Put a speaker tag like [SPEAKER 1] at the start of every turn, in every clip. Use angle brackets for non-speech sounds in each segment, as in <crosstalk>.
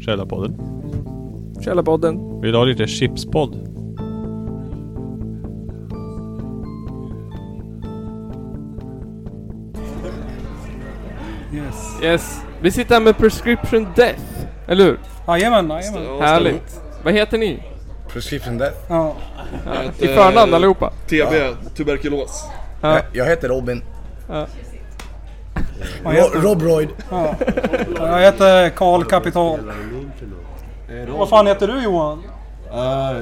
[SPEAKER 1] Källarpodden.
[SPEAKER 2] Källarpodden.
[SPEAKER 1] Vill du ha lite chipspodd?
[SPEAKER 3] Yes.
[SPEAKER 2] Yes. Vi sitter här med Prescription Death. Eller hur?
[SPEAKER 3] Jajamän, jajamän.
[SPEAKER 2] Härligt. Vad heter ni?
[SPEAKER 4] Prescription Death.
[SPEAKER 3] Ja.
[SPEAKER 2] I
[SPEAKER 5] Eh,
[SPEAKER 2] förnamn allihopa.
[SPEAKER 5] TB, tuberkulos.
[SPEAKER 2] Ja.
[SPEAKER 4] Jag, jag heter Robin.
[SPEAKER 3] Ja, jag
[SPEAKER 4] Ro,
[SPEAKER 3] heter-
[SPEAKER 4] Rob Royd.
[SPEAKER 3] ja. Jag heter Karl Kapital. Vad fan heter du Johan?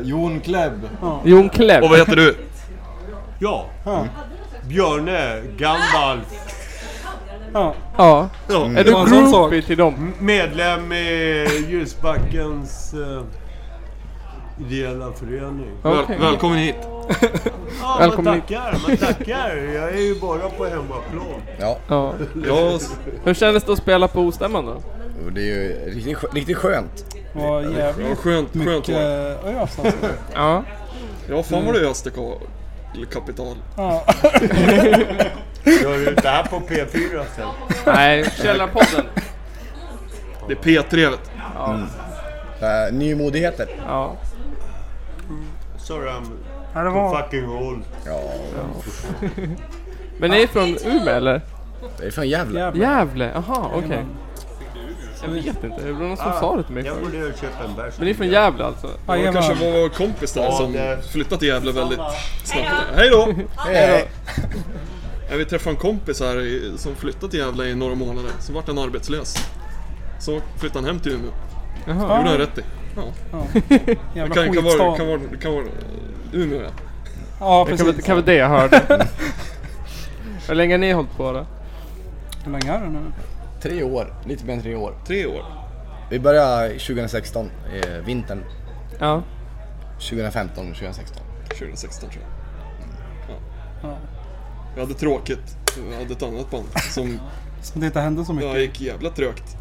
[SPEAKER 6] Jon Klebb.
[SPEAKER 2] Jon Klepp.
[SPEAKER 5] Och vad heter du?
[SPEAKER 6] Ja. Mm. Björne, gammal
[SPEAKER 3] Ja.
[SPEAKER 2] Ja.
[SPEAKER 5] Ja. Mm,
[SPEAKER 2] Är du
[SPEAKER 3] Det var en sån sak.
[SPEAKER 2] groupie till dem?
[SPEAKER 6] medlem i Ljusbackens eh, ideella förening.
[SPEAKER 5] Väl,
[SPEAKER 2] Okej.
[SPEAKER 5] välkommen hit.
[SPEAKER 6] Ja,
[SPEAKER 2] Välkommen
[SPEAKER 6] man tackar, man tackar. Jag är ju bara på hemmaplan.
[SPEAKER 4] Ja,
[SPEAKER 2] Ja.
[SPEAKER 5] Ja,
[SPEAKER 2] Hur kändes det att spela på Ostämman då?
[SPEAKER 4] och det är ju riktigt, skö- riktigt skönt.
[SPEAKER 3] Vad
[SPEAKER 5] ja,
[SPEAKER 3] jävligt
[SPEAKER 5] skönt, skönt
[SPEAKER 3] mycket
[SPEAKER 5] var
[SPEAKER 3] ös alltså.
[SPEAKER 2] Ja.
[SPEAKER 5] Ja, fan vad du öste ka- eller kapital.
[SPEAKER 3] Ja.
[SPEAKER 6] Gör du det här på P4 sen?
[SPEAKER 2] Nej, Källarpodden.
[SPEAKER 5] Det är P3 vet du.
[SPEAKER 4] Uh, nymodigheter.
[SPEAKER 2] Ja.
[SPEAKER 6] Sorry I'm
[SPEAKER 3] Ja, det var...
[SPEAKER 6] fucking old.
[SPEAKER 4] Ja,
[SPEAKER 2] Men ni är från Umeå eller?
[SPEAKER 4] det är fan jävla.
[SPEAKER 3] Jävlar.
[SPEAKER 2] Gävle? Aha, okej. Jag vet inte, det var någon som sa det till mig
[SPEAKER 6] Jag
[SPEAKER 2] förut.
[SPEAKER 6] borde köpa en bärs.
[SPEAKER 2] Men ni är från Gävle alltså?
[SPEAKER 5] Det
[SPEAKER 3] Jajamän.
[SPEAKER 5] kanske var kompis där
[SPEAKER 6] Ja,
[SPEAKER 5] som
[SPEAKER 6] det-
[SPEAKER 5] flyttat till Gävle väldigt snabbt. Hej då!
[SPEAKER 4] Hej.
[SPEAKER 5] Ja, vi träffade en kompis här i, som flyttat till Gävle i några månader. Så vart han arbetslös. Så flyttade han hem till Umeå.
[SPEAKER 2] Jaha.
[SPEAKER 5] gjorde han rätt i. Ja.
[SPEAKER 3] Jävla
[SPEAKER 5] Kan, kan vara,
[SPEAKER 3] skitstad.
[SPEAKER 5] kan vara, kan vara eh, Umeå ja.
[SPEAKER 3] Ja,
[SPEAKER 2] Det kan vara-
[SPEAKER 3] precis.
[SPEAKER 2] kan vara det jag
[SPEAKER 3] <laughs>
[SPEAKER 2] hörde. Hur länge har ni hållit på då?
[SPEAKER 3] Hur länge är det nu?
[SPEAKER 4] Tre år, lite mer än tre år.
[SPEAKER 5] Tre år.
[SPEAKER 4] Vi började 2016, eh, vintern.
[SPEAKER 2] Ja.
[SPEAKER 4] 2015, 2016.
[SPEAKER 5] 2016 tror jag. Mm. Ja. Jag hade tråkigt. Jag hade ett annat band som
[SPEAKER 3] Som det inte hände så mycket.
[SPEAKER 5] ja, gick jävla trögt.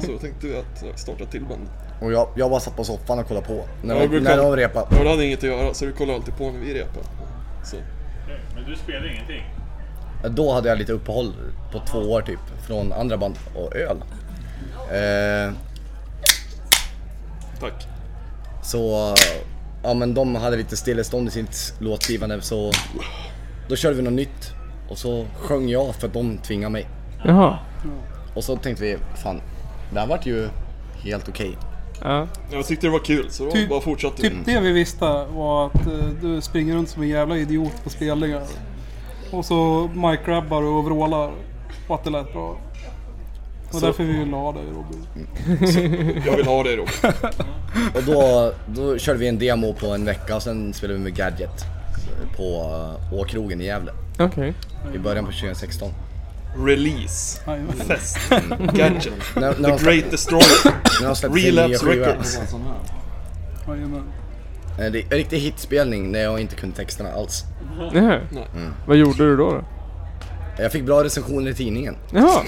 [SPEAKER 5] Så tänkte vi att starta ett till band.
[SPEAKER 4] Och jag, jag bara satt på soffan och kollade på. När,
[SPEAKER 5] Jag
[SPEAKER 4] de,
[SPEAKER 5] brukar-
[SPEAKER 4] när de repade.
[SPEAKER 5] Jag hade inget att göra så vi kollade alltid på när vi repade. Så.
[SPEAKER 7] Men du spelar ingenting?
[SPEAKER 4] Då hade jag lite uppehåll på två år typ. Från andra band och öl. Eh,
[SPEAKER 5] Tack.
[SPEAKER 4] Så, ja men de hade lite stillestånd i sitt låtskrivande så då körde vi något nytt. Och så sjöng jag för att de tvingade mig.
[SPEAKER 2] Jaha.
[SPEAKER 4] Och så tänkte vi, fan, det här vart ju helt okej.
[SPEAKER 2] Ja.
[SPEAKER 5] Jag tyckte det var kul så då
[SPEAKER 3] Typ-
[SPEAKER 5] bara fortsatte vi.
[SPEAKER 3] Typ det vi visste var att eh, du springer runt som en jävla idiot på spelningar. Och så micrabbar och vrålar. Och att det lät bra. Och därför vi ville ha dig Robin. typ-
[SPEAKER 5] Jag vill ha dig Robin.
[SPEAKER 4] Och då, då körde vi en demo på en vecka och sen spelade vi med Gadget på eh, Åkrogen i Gävle.
[SPEAKER 2] Okej.
[SPEAKER 4] I början på 2016.
[SPEAKER 5] Release.
[SPEAKER 3] Jajamän.
[SPEAKER 5] Fest.
[SPEAKER 3] Mm.
[SPEAKER 5] Gadget.
[SPEAKER 4] När, när, de,
[SPEAKER 5] The
[SPEAKER 4] släpp-
[SPEAKER 5] Great Destroyer.
[SPEAKER 4] när de släppte sin nya
[SPEAKER 5] Relapse
[SPEAKER 4] skiva.
[SPEAKER 5] Records.
[SPEAKER 3] Jajamän.
[SPEAKER 4] Eh, Det är en riktig hitspelning när jag inte kunde texterna alls.
[SPEAKER 2] Jaha.
[SPEAKER 5] Nej.
[SPEAKER 2] Vad gjorde du då? då?
[SPEAKER 4] Jag fick bra recensioner i tidningen.
[SPEAKER 2] Jaha.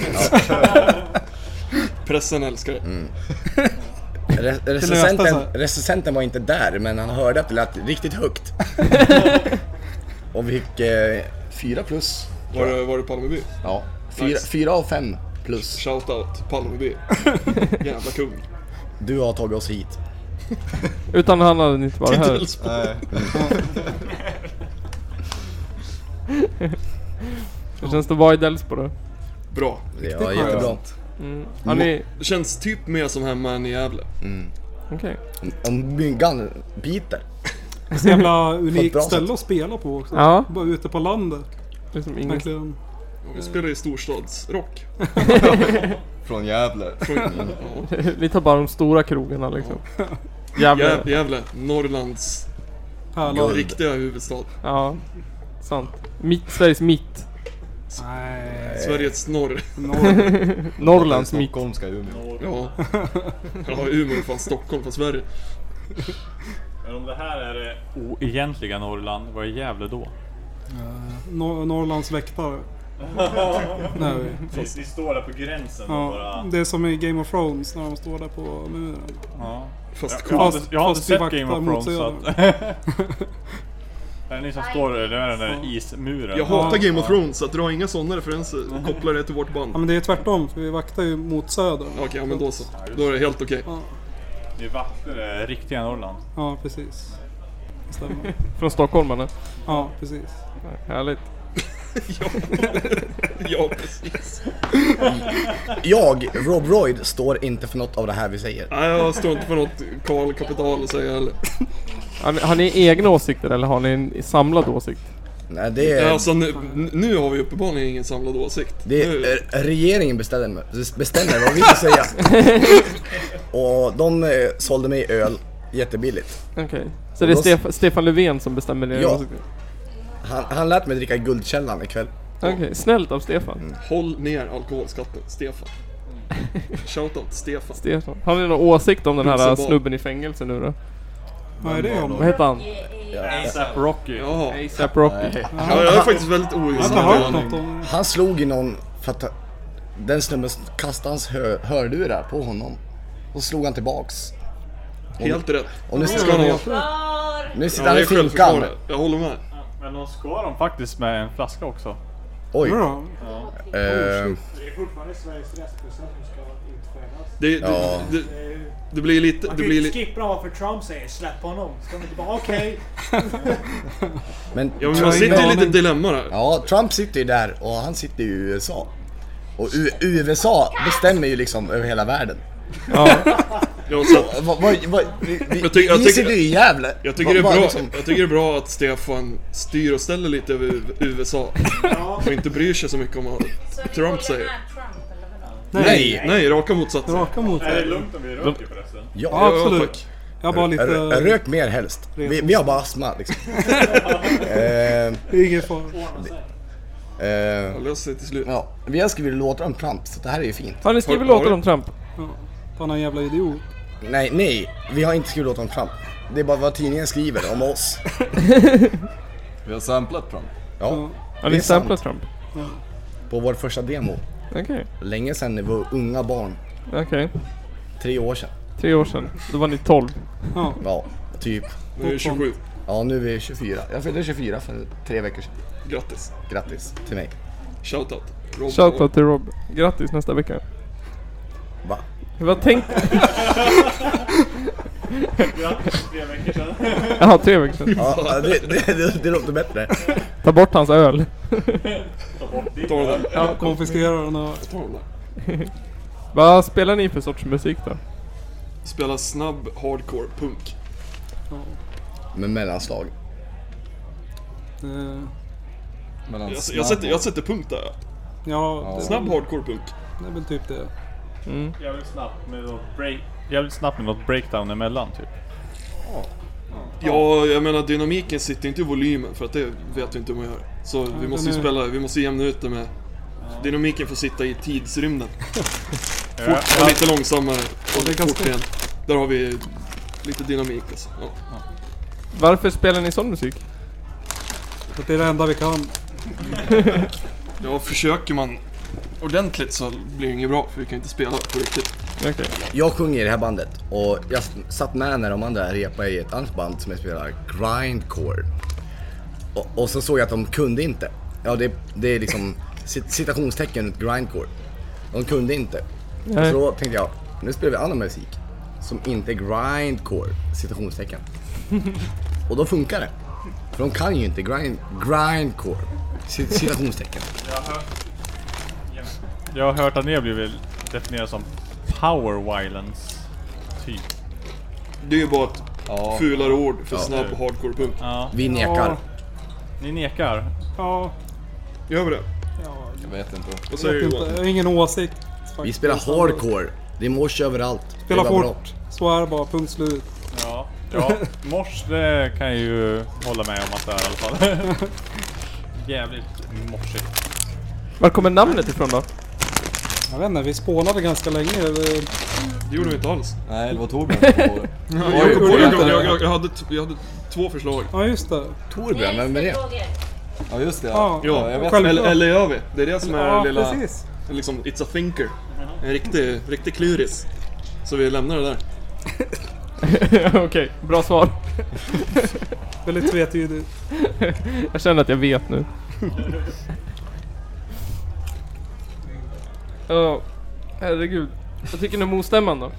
[SPEAKER 5] Pressen älskar det.
[SPEAKER 4] Re- recensenten,
[SPEAKER 3] sig.
[SPEAKER 4] recensenten var inte där, men han hörde att det lät riktigt högt. och vi fick eh, fyra plus.
[SPEAKER 5] Var, det, var det Palmeby?
[SPEAKER 4] Ja, fyra,
[SPEAKER 5] Nice.
[SPEAKER 4] fyra av fem plus.
[SPEAKER 5] Shoutout
[SPEAKER 3] <laughs>
[SPEAKER 5] Palmeby. Jävla kung.
[SPEAKER 4] Du har tagit oss hit.
[SPEAKER 2] Utan han hade ni inte varit här.
[SPEAKER 5] Titelspår.
[SPEAKER 2] Hur känns det att vara i Delsbo då?
[SPEAKER 5] Bra.
[SPEAKER 4] Det var jättebra.
[SPEAKER 2] Har ni...
[SPEAKER 5] Det känns typ mer som hemma än i Gävle.
[SPEAKER 2] Okej.
[SPEAKER 4] Om myggan biter.
[SPEAKER 3] Så jävla
[SPEAKER 4] <laughs> På ett bra
[SPEAKER 3] unikt
[SPEAKER 4] sätt.
[SPEAKER 3] ställe att spela på också.
[SPEAKER 2] Ja.
[SPEAKER 3] Bara ute på landet.
[SPEAKER 2] Liksom ingen...
[SPEAKER 3] Verkligen.
[SPEAKER 5] Vi spelar i storstadsrock.
[SPEAKER 6] Från Gävle.
[SPEAKER 5] Från- Ja.
[SPEAKER 2] Ni tar bara de stora krogarna liksom.
[SPEAKER 5] Gäv-
[SPEAKER 2] Jävlar.
[SPEAKER 5] Gävle, Norrlands
[SPEAKER 3] Pärlan.
[SPEAKER 5] riktiga huvudstad.
[SPEAKER 2] Ja. Sant. Mitt, Sveriges mitt.
[SPEAKER 3] Nej.
[SPEAKER 5] Sveriges norr.
[SPEAKER 3] <laughs> Norr.
[SPEAKER 2] Norrlands mitt.
[SPEAKER 6] Umeå.
[SPEAKER 5] Ja. Ja, Umeå är fan Stockholm från Sverige.
[SPEAKER 7] Men om det här är det oegentliga Norrland, vad är Gävle då?
[SPEAKER 3] Nor- Norrlands väktare.
[SPEAKER 4] <laughs>
[SPEAKER 3] Nej.
[SPEAKER 7] Vi, vi står där på gränsen och
[SPEAKER 3] Ja,
[SPEAKER 7] bara...
[SPEAKER 3] det är som i Game of Thrones när de står där på muren.
[SPEAKER 7] Ja.
[SPEAKER 5] Fast
[SPEAKER 7] Jag har
[SPEAKER 3] Fast-
[SPEAKER 7] inte, jag har inte
[SPEAKER 3] fast vi
[SPEAKER 7] sett Game
[SPEAKER 3] vaktar
[SPEAKER 7] of
[SPEAKER 3] mot
[SPEAKER 7] Thrones så att...
[SPEAKER 3] söder.
[SPEAKER 7] jag Är det ni som står där? Det är den där ismuren.
[SPEAKER 5] Jag hatar Game of Thrones, så att dra inga sådana referenser. Koppla det till vårt band.
[SPEAKER 3] Ja, men det är tvärtom, för vi vaktar ju mot söder.
[SPEAKER 5] Okej, ja men då så. Då är det helt okej.
[SPEAKER 7] Ni vaktar det riktiga Norrland.
[SPEAKER 3] Ja, precis. Det Stämmer.
[SPEAKER 2] Från Stockholm eller?
[SPEAKER 3] Ja, precis.
[SPEAKER 2] Härligt.
[SPEAKER 5] Ja, precis.
[SPEAKER 4] Jag, Rob Royd, står inte för något av det här vi säger.
[SPEAKER 5] Nej, jag står inte för något Karl Kapital att säga heller.
[SPEAKER 2] Har ni, har ni egna åsikter eller har ni en samlad åsikt?
[SPEAKER 4] Nej, det är...
[SPEAKER 5] Alltså nu, nu har vi uppenbarligen ingen samlad åsikt.
[SPEAKER 4] Eh. Det
[SPEAKER 5] Nu-
[SPEAKER 4] är, eh, regeringen bestämmer, bestämmer vad vi ska säga. Och de eh, sålde mig öl jättebilligt.
[SPEAKER 2] Okej. Så det är Stef- Stefan Löfven som bestämmer era
[SPEAKER 4] Ja.
[SPEAKER 2] åsikter?
[SPEAKER 4] Han, han lät mig dricka Guldkällan ikväll.
[SPEAKER 2] Okej, snällt av Stefan.
[SPEAKER 5] Håll ner alkoholskatten, Stefan. Shoutout Stefan.
[SPEAKER 2] Stefan. Har ni någon åsikt om den här
[SPEAKER 5] Rosenbad.
[SPEAKER 2] snubben i fängelse nu då?
[SPEAKER 3] Vad är det
[SPEAKER 2] Vad
[SPEAKER 3] om?
[SPEAKER 2] heter han?
[SPEAKER 7] ASAP Rocky.
[SPEAKER 5] Ja,
[SPEAKER 2] ASAP Rocky.
[SPEAKER 5] ja jag är faktiskt väldigt
[SPEAKER 3] Jag har inte hört
[SPEAKER 5] ointresserad.
[SPEAKER 3] något om det.
[SPEAKER 4] Han slog i någon för att den snubben kastade hans hö, hörlurar på honom. Och slog han tillbaks.
[SPEAKER 5] Helt rätt.
[SPEAKER 4] Och nu sitter
[SPEAKER 5] Ska
[SPEAKER 4] han,
[SPEAKER 5] ni-
[SPEAKER 4] och- nu sitter
[SPEAKER 5] Ja,
[SPEAKER 4] han
[SPEAKER 5] det är
[SPEAKER 4] i finkan.
[SPEAKER 5] självförsvar. Jag håller med.
[SPEAKER 7] Men de skar dem faktiskt med en flaska också.
[SPEAKER 4] Oj.
[SPEAKER 3] Jo då.
[SPEAKER 4] Eh,
[SPEAKER 8] fortfarande Sveriges restbussar som ska utfärdas.
[SPEAKER 5] Det,
[SPEAKER 4] Ja.
[SPEAKER 5] det, det, det blir lite...
[SPEAKER 8] Man
[SPEAKER 5] Det
[SPEAKER 8] kan
[SPEAKER 5] blir
[SPEAKER 8] ju
[SPEAKER 5] lite...
[SPEAKER 8] inte skippa varför Trump säger släpp honom. Ska man inte bara okej.
[SPEAKER 4] men
[SPEAKER 5] Ja, men man
[SPEAKER 4] Trump,
[SPEAKER 5] sitter i lite
[SPEAKER 3] aning.
[SPEAKER 5] dilemma där.
[SPEAKER 4] ja, Trump sitter ju där och han sitter i USA. Och U- USA bestämmer ju liksom över hela världen.
[SPEAKER 5] Ja, så att,
[SPEAKER 4] Vad- vad- vad- vi vi,
[SPEAKER 5] Jag tycker-
[SPEAKER 4] vi
[SPEAKER 5] jag tycker-
[SPEAKER 4] sitter ju i Gävle.
[SPEAKER 5] jag, tycker det är
[SPEAKER 4] Vad- vad
[SPEAKER 5] bra,
[SPEAKER 4] liksom-
[SPEAKER 5] jag tycker det är bra att Stefan styr och ställer lite över U- USA. Och inte bryr sig så mycket om vad Trump säger.
[SPEAKER 4] Nej!
[SPEAKER 5] Nej, raka motsatsen.
[SPEAKER 3] Raka mot
[SPEAKER 7] Är det
[SPEAKER 3] det.
[SPEAKER 7] lugnt om vi röker förresten?
[SPEAKER 4] Ja,
[SPEAKER 5] Ja,
[SPEAKER 3] Absolut.
[SPEAKER 5] tack.
[SPEAKER 3] Jag har bara
[SPEAKER 4] r-
[SPEAKER 3] lite...
[SPEAKER 4] rök mer helst. Vi, vi har bara astma liksom. eh,
[SPEAKER 3] Det är ingen fara.
[SPEAKER 4] eh,
[SPEAKER 5] Jag löser det till slut.
[SPEAKER 4] ja. Vi har skrivit låtar om Trump, så det här är ju fint.
[SPEAKER 2] Har ni skrivit
[SPEAKER 5] Har- har
[SPEAKER 2] låtar
[SPEAKER 5] du?
[SPEAKER 2] om Trump?
[SPEAKER 3] Ta någon jävla idiot.
[SPEAKER 4] Nej, nej. Vi har inte skrivit låtar om Trump. Det är bara vad tidningen skriver om oss.
[SPEAKER 6] Vi har samplat Trump.
[SPEAKER 4] Ja,
[SPEAKER 2] Har
[SPEAKER 4] Det är
[SPEAKER 2] ni samplat Trump?
[SPEAKER 4] på vår första demo.
[SPEAKER 2] Okej.
[SPEAKER 4] Länge sedan när vi var unga barn.
[SPEAKER 2] Okej.
[SPEAKER 4] Tre år sedan.
[SPEAKER 2] Tre år sedan. Då var ni 12.
[SPEAKER 3] Ja,
[SPEAKER 4] Ja, typ.
[SPEAKER 5] Nu är vi 27.
[SPEAKER 4] Ja, nu är vi 24. Jag fyllde 24 för tre veckor sedan.
[SPEAKER 5] Grattis.
[SPEAKER 4] Grattis till mig.
[SPEAKER 5] Shoutout. Rob-
[SPEAKER 2] Shoutout till Rob. Grattis nästa vecka.
[SPEAKER 4] Va?
[SPEAKER 2] Vad <laughs> tänkte...
[SPEAKER 7] Grattis, tre veckor sedan.
[SPEAKER 2] Jaha, tre veckor sedan.
[SPEAKER 4] Ja,
[SPEAKER 2] <laughs>
[SPEAKER 4] det, det, det, det låter bättre.
[SPEAKER 2] Ta bort hans öl.
[SPEAKER 5] Ta den där.
[SPEAKER 2] Ja, kom.
[SPEAKER 3] konfiskera den och...
[SPEAKER 5] Ta den där.
[SPEAKER 2] Vad spelar ni för sorts musik då?
[SPEAKER 5] Spela snabb hardcore punk.
[SPEAKER 4] Med mellanslag.
[SPEAKER 3] eh,
[SPEAKER 6] Mellan
[SPEAKER 5] Jag, jag, sätter, jag sätter punkt där.
[SPEAKER 3] Ja, det,
[SPEAKER 5] Snabb hardcore punk.
[SPEAKER 3] det är väl typ det.
[SPEAKER 7] Jävligt snabbt med något break... Jävligt snabbt med något breakdown emellan typ.
[SPEAKER 5] Ja, jag menar dynamiken sitter inte i volymen för att det vet vi inte hur man gör. Så vi måste ju
[SPEAKER 3] den är-
[SPEAKER 5] spela, vi måste jämna ut det med... Dynamiken får sitta i
[SPEAKER 3] <laughs>
[SPEAKER 5] tidsrymden.
[SPEAKER 7] Ja,
[SPEAKER 5] Och lite långsammare och
[SPEAKER 3] det kan
[SPEAKER 5] fort
[SPEAKER 3] stå.
[SPEAKER 5] igen. Där har vi lite dynamik alltså. Ja.
[SPEAKER 2] Varför spelar ni sån musik?
[SPEAKER 3] Att det är det enda vi kan.
[SPEAKER 5] ja, försöker man ordentligt så blir det inget bra för vi kan inte spela på riktigt.
[SPEAKER 2] Okej.
[SPEAKER 4] Jag sjunger i det här bandet och jag satt med när de andra repade i ett annat band som jag spelar, Grindcore. Och, och så såg jag att de kunde inte. Ja, det, det är liksom cit- citationstecken runt Grindcore. De kunde inte.
[SPEAKER 2] Nej.
[SPEAKER 4] Så tänkte jag, nu spelar vi annan musik som inte är Grindcore, citationstecken. och då funkar det. För de kan ju inte grind, Grindcore, cit- citationstecken.
[SPEAKER 7] Jag har hört att ni har blivit definierade som power violence. Typ.
[SPEAKER 5] Det är ju bara ett fulare ord för snabb hardcore punk.
[SPEAKER 7] Ja.
[SPEAKER 4] Vi nekar.
[SPEAKER 7] Ni nekar.
[SPEAKER 3] Ja,
[SPEAKER 5] Gör vi det?
[SPEAKER 6] Jag vet inte.
[SPEAKER 5] Vad
[SPEAKER 3] jag
[SPEAKER 5] säger
[SPEAKER 3] vet
[SPEAKER 5] du
[SPEAKER 3] inte.
[SPEAKER 5] Johan?
[SPEAKER 3] Jag har ingen åsikt. faktiskt.
[SPEAKER 4] Vi spelar hardcore. Det är mosh överallt.
[SPEAKER 3] Spela
[SPEAKER 4] Det var bra.
[SPEAKER 3] fort. Så är det bara, punkt slut.
[SPEAKER 7] Ja. Ja, mors det kan jag ju hålla med om att det är i alla fall. <laughs> Jävligt morsigt.
[SPEAKER 2] Var kommer namnet ifrån då? <laughs>
[SPEAKER 3] Jag vet inte, vi spånade ganska länge. Vi-
[SPEAKER 5] Det gjorde vi inte alls.
[SPEAKER 6] Nej, det var Torbjörn som kom på
[SPEAKER 3] <laughs>
[SPEAKER 6] det.
[SPEAKER 5] Jag, kom på, jag, kom-
[SPEAKER 6] vänta.
[SPEAKER 5] jag, jag, jag, hade, t- jag hade två förslag.
[SPEAKER 3] Ja, just det.
[SPEAKER 4] Torbjörn, vem är det?
[SPEAKER 6] Ja, just det.
[SPEAKER 3] Ja.
[SPEAKER 5] Ja,
[SPEAKER 6] jag vet.
[SPEAKER 3] Självklart.
[SPEAKER 5] eller, eller gör vi? Det är det som är
[SPEAKER 3] Ja,
[SPEAKER 5] lilla...
[SPEAKER 3] precis. Uh-huh.
[SPEAKER 5] Liksom, it's a thinker. En riktig, riktig kluris. Så vi lämnar det där.
[SPEAKER 2] Okej, bra svar.
[SPEAKER 3] Väldigt tvetydigt.
[SPEAKER 2] Jag känner att jag vet nu. Ja, herregud. Vad tycker ni om ostämman då?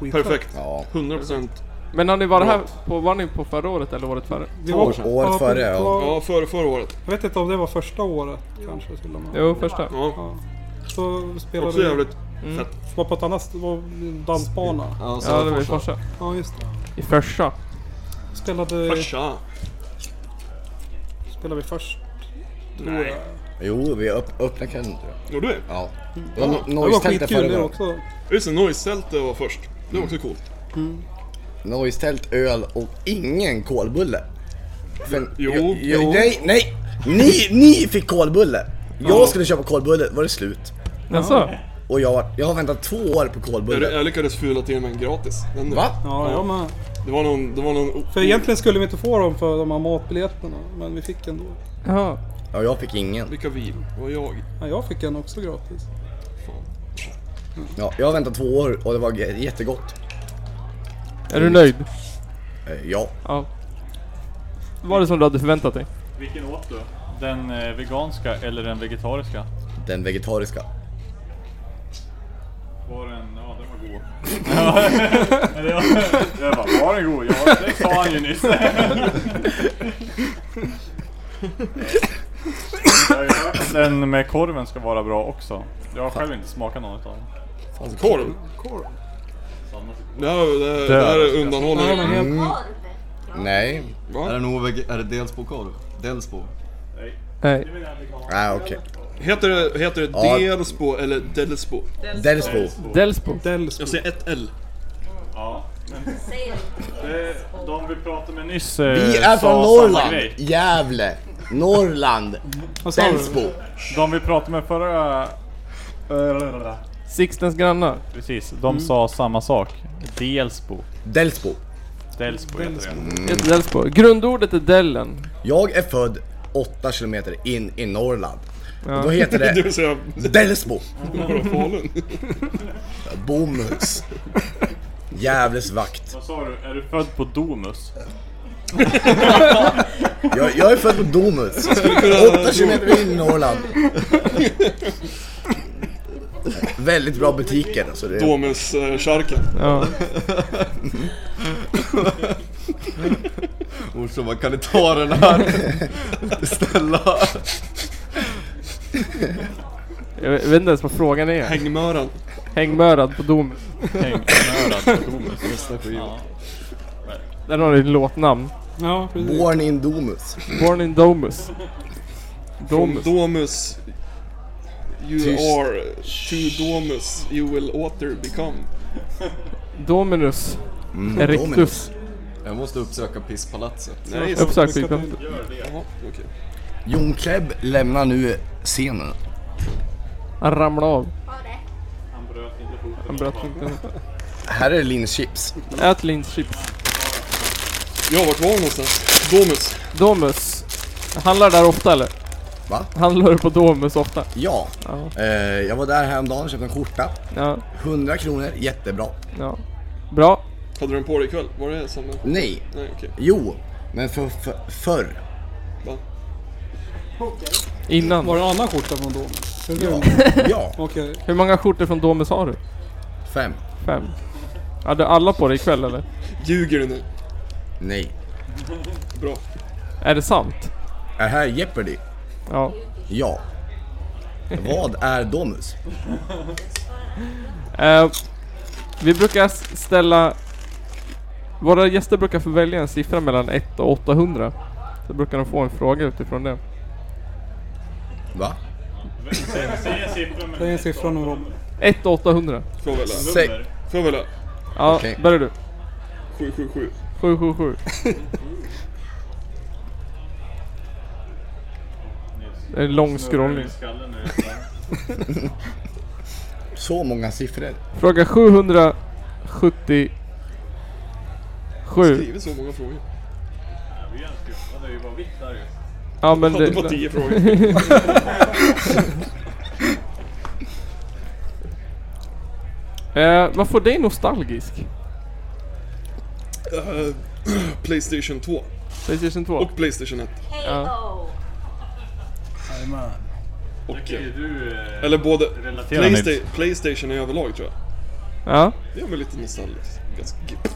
[SPEAKER 3] Skit.
[SPEAKER 5] Perfekt.
[SPEAKER 4] Ja.
[SPEAKER 5] 100%.
[SPEAKER 2] Men har ni varit här på, var ni på förra året eller året före?
[SPEAKER 3] Vi
[SPEAKER 4] År- år
[SPEAKER 3] ja,
[SPEAKER 4] före, ja.
[SPEAKER 3] på-
[SPEAKER 5] Ja, före förra året.
[SPEAKER 3] Jag vet inte om det var första året kanske till och med.
[SPEAKER 2] Jo, första.
[SPEAKER 5] Ja,
[SPEAKER 3] Ja. Så spelade
[SPEAKER 5] också
[SPEAKER 3] vi...
[SPEAKER 5] jävligt
[SPEAKER 2] Mm.
[SPEAKER 5] fett.
[SPEAKER 3] Var på ett annat... st- Var en dansbana.
[SPEAKER 5] Ja, så
[SPEAKER 2] Ja, det var i
[SPEAKER 5] första.
[SPEAKER 2] Forsa.
[SPEAKER 3] Ja, just det.
[SPEAKER 2] I Försa.
[SPEAKER 3] Spelade,
[SPEAKER 5] Forsa.
[SPEAKER 3] spelade vi först.
[SPEAKER 5] Nej.
[SPEAKER 4] Jo, vi öpp- öppnade kanten tror jag.
[SPEAKER 5] Gjorde vi?
[SPEAKER 4] Ja. Det var no-
[SPEAKER 3] Det var
[SPEAKER 4] noise-tältet
[SPEAKER 3] skitkul det
[SPEAKER 4] före också.
[SPEAKER 3] också.
[SPEAKER 5] Just det, Noise-tältet var först. Det var också coolt.
[SPEAKER 4] Noise-tält, öl och ingen kolbulle. För,
[SPEAKER 5] Jo,
[SPEAKER 4] jag, jag,
[SPEAKER 5] jo.
[SPEAKER 4] Nej, nej! Ni, ni fick kolbulle! Jag skulle köpa kolbulle, var det slut.
[SPEAKER 2] Jaså?
[SPEAKER 4] Och jag, jag har väntat två år på kolbulle.
[SPEAKER 5] Jag, jag lyckades fula till mig en gratis. Den,
[SPEAKER 4] Va?
[SPEAKER 3] Ja, jag med.
[SPEAKER 5] Det var någon... Det var någon
[SPEAKER 3] För egentligen skulle vi inte få dem för de här matbiljetterna. Men vi fick ändå.
[SPEAKER 2] Ja.
[SPEAKER 4] Ja, jag fick ingen.
[SPEAKER 5] Vilka vi? Det var jag.
[SPEAKER 3] Ja, jag fick en också gratis.
[SPEAKER 5] Fan.
[SPEAKER 4] Ja, jag har väntat två år och det var j- jättegott.
[SPEAKER 2] Är du nöjd?
[SPEAKER 4] Eh, Ja,
[SPEAKER 2] Ja. Var det som du hade förväntat dig?
[SPEAKER 7] Vilken åt du? Den eh, veganska eller den vegetariska?
[SPEAKER 4] den vegetariska.
[SPEAKER 7] Var den... Ja, den var god. <laughs> Eller jag, jag bara, var den god? Ja, det sa han ju nyss. Jag har ju hört att <laughs> Den med korven ska vara bra också. Jag har själv inte smakat någon utav dem.
[SPEAKER 5] Korv. Det här, det, här- det här är
[SPEAKER 3] Ja,
[SPEAKER 5] undanhållande.
[SPEAKER 3] men helt...
[SPEAKER 4] Nej.
[SPEAKER 5] Va?
[SPEAKER 9] Är det, nog, veg- är det dels på korv? Dels på?
[SPEAKER 2] Nej.
[SPEAKER 4] Ah, okej.
[SPEAKER 5] Heter det, heter det
[SPEAKER 4] Ja.
[SPEAKER 5] Delsbo eller Delsbo?
[SPEAKER 4] Delsbo.
[SPEAKER 2] Delsbo?
[SPEAKER 3] Delsbo.
[SPEAKER 5] Jag säger ett L.
[SPEAKER 7] Ja, men... Det, Eh, de vi pratade med nyss eh,
[SPEAKER 4] Vi är
[SPEAKER 7] sa
[SPEAKER 4] från
[SPEAKER 7] samma
[SPEAKER 4] Norrland.
[SPEAKER 7] grej.
[SPEAKER 4] Gävle. Norrland.
[SPEAKER 3] Vad sa du?
[SPEAKER 4] Delsbo.
[SPEAKER 7] De vi pratade med förra... eh,
[SPEAKER 2] Sixtens grannar?
[SPEAKER 7] Precis, de sa samma sak. Delsbo.
[SPEAKER 4] Delsbo.
[SPEAKER 7] Delsbo heter det.
[SPEAKER 9] Mm.
[SPEAKER 2] Heter Delsbo. Grundordet är Dellen.
[SPEAKER 4] Jag är född 8 kilometer in i Norrland.
[SPEAKER 2] Ja.
[SPEAKER 4] Och då
[SPEAKER 2] <laughs>
[SPEAKER 4] heter
[SPEAKER 5] Det
[SPEAKER 4] det
[SPEAKER 5] vill säga
[SPEAKER 4] Delsbo.
[SPEAKER 5] norra Falun.
[SPEAKER 4] Bomhus. Gävles vakt.
[SPEAKER 7] Vad sa du? Är du född på Domus?
[SPEAKER 4] Jag, jag är född på Domus. 8 kilometer in i Norrland. Väldigt bra butiker. Alltså det
[SPEAKER 5] Domuskärken.
[SPEAKER 9] <laughs>
[SPEAKER 2] Ja.
[SPEAKER 9] Orsa bara, kan ni ta den här? Snälla!
[SPEAKER 2] Jag vet jag vet inte ens vad frågan är.
[SPEAKER 5] Hängmöran.
[SPEAKER 2] Hängmörad på domen.
[SPEAKER 7] Hängmördad på Domus. Ja.
[SPEAKER 2] Där har du ett låtnamn.
[SPEAKER 3] Ja, precis.
[SPEAKER 4] Born in Domus.
[SPEAKER 2] Born in Domus. Domus.
[SPEAKER 5] Domus. You
[SPEAKER 4] Tyst.
[SPEAKER 5] are to Domus. You will author become.
[SPEAKER 2] Dominus. Erectus.
[SPEAKER 9] Jag måste uppsöka pisspalatset.
[SPEAKER 5] Nej, så-
[SPEAKER 2] Uppsök flygplatsen.
[SPEAKER 5] Jaha, okej.
[SPEAKER 4] Jon Klebb lämnar nu scenen.
[SPEAKER 2] Han ramlade av. Han bröt inte foten.
[SPEAKER 4] Här är Linn Chips.
[SPEAKER 2] Ät linschips.
[SPEAKER 5] Ja, vart var vi någonstans? Domus.
[SPEAKER 2] Domus. Handlar där ofta eller?
[SPEAKER 4] Va?
[SPEAKER 2] Handlar du på Domus ofta?
[SPEAKER 4] Ja.
[SPEAKER 2] Ja.
[SPEAKER 4] Eh, jag var där häromdagen och köpte en skjorta.
[SPEAKER 2] Ja.
[SPEAKER 4] 100 kronor, jättebra.
[SPEAKER 2] ja. Bra.
[SPEAKER 5] Hade du den på dig ikväll? Var det samma? Nej,
[SPEAKER 4] Nej,
[SPEAKER 5] okej.
[SPEAKER 4] jo, men för, för, förr.
[SPEAKER 5] Va?
[SPEAKER 2] Innan.
[SPEAKER 3] Var det en annan skjorta från Domus?
[SPEAKER 4] Ja. ja,
[SPEAKER 3] Okej.
[SPEAKER 2] Hur många skjortor från Domus har du?
[SPEAKER 4] fem.
[SPEAKER 2] Fem. Hade alla på dig ikväll eller?
[SPEAKER 5] Ljuger du nu?
[SPEAKER 4] Nej.
[SPEAKER 5] Bra.
[SPEAKER 2] Är det sant?
[SPEAKER 4] Är här Jeopardy?
[SPEAKER 2] Ja.
[SPEAKER 4] Ja. Vad är Domus?
[SPEAKER 2] Eh, vi brukar s- ställa... Våra gäster brukar få välja en siffra mellan 1 och 800. Så brukar de få en fråga utifrån det.
[SPEAKER 4] Va?
[SPEAKER 3] Det är en siffra nu Robin.
[SPEAKER 2] 1 och 800.
[SPEAKER 5] Får jag välja?
[SPEAKER 4] Säg.
[SPEAKER 5] Får jag välja?
[SPEAKER 2] Ja,
[SPEAKER 4] Okej.
[SPEAKER 2] börjar du.
[SPEAKER 5] 777.
[SPEAKER 2] 777. Det är en lång scrollning.
[SPEAKER 7] Skallen nu.
[SPEAKER 4] Så många siffror.
[SPEAKER 2] Fråga 777.
[SPEAKER 5] Skrivit så många frågor.
[SPEAKER 7] Det är ju bara vitt där ju.
[SPEAKER 2] Ja men
[SPEAKER 5] <laughs> Hade bara
[SPEAKER 2] det,
[SPEAKER 5] 10 frågor.
[SPEAKER 2] eh, Vad får dig nostalgisk?
[SPEAKER 5] Eh, Playstation 2.
[SPEAKER 2] Playstation 2.
[SPEAKER 5] Och Playstation 1.
[SPEAKER 2] Ja.
[SPEAKER 5] Och,
[SPEAKER 7] Okej, du... eh,
[SPEAKER 5] eller både
[SPEAKER 7] Relaterar Nils.
[SPEAKER 5] Playsta- Playstation i överlag tror jag.
[SPEAKER 2] Ja.
[SPEAKER 5] Det gör mig lite nostalgisk. Ganska gipp.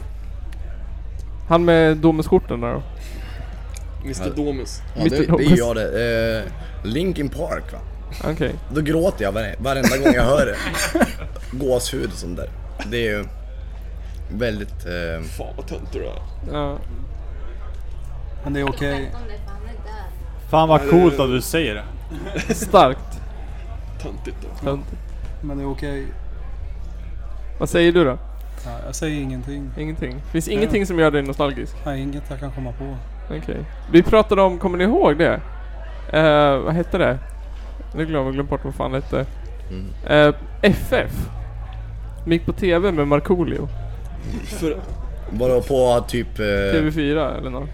[SPEAKER 2] Han med domeskorten där då.
[SPEAKER 5] Mr Domus.
[SPEAKER 4] Ja, det,
[SPEAKER 2] Mr.
[SPEAKER 4] det är
[SPEAKER 2] Thomas.
[SPEAKER 4] jag det. Eh, Linkin Park va?
[SPEAKER 2] Okej.
[SPEAKER 4] Då gråter jag vare- varenda gång jag hör det. Gåshud och sånt där. Det är ju väldigt... Eh,
[SPEAKER 5] Fan vad tönt du är.
[SPEAKER 2] Ja.
[SPEAKER 3] Men det är okej.
[SPEAKER 7] Fan vad coolt att du säger det.
[SPEAKER 2] Starkt.
[SPEAKER 5] Töntigt då.
[SPEAKER 2] Töntigt.
[SPEAKER 3] Men det är okej.
[SPEAKER 2] Vad säger du då?
[SPEAKER 3] Ja, jag säger ingenting.
[SPEAKER 2] Ingenting. Finns ingenting som gör dig nostalgisk?
[SPEAKER 3] Nej, inget jag kan komma på.
[SPEAKER 2] Okej. Vi pratade om, kommer ni ihåg det? Eh, vad hette det? Nu glömmer jag glömt bort vad fan det hette. Eh, FF. De gick på TV med Markoolio.
[SPEAKER 5] För
[SPEAKER 4] bara på typ... Eh,
[SPEAKER 2] TV4 eller något.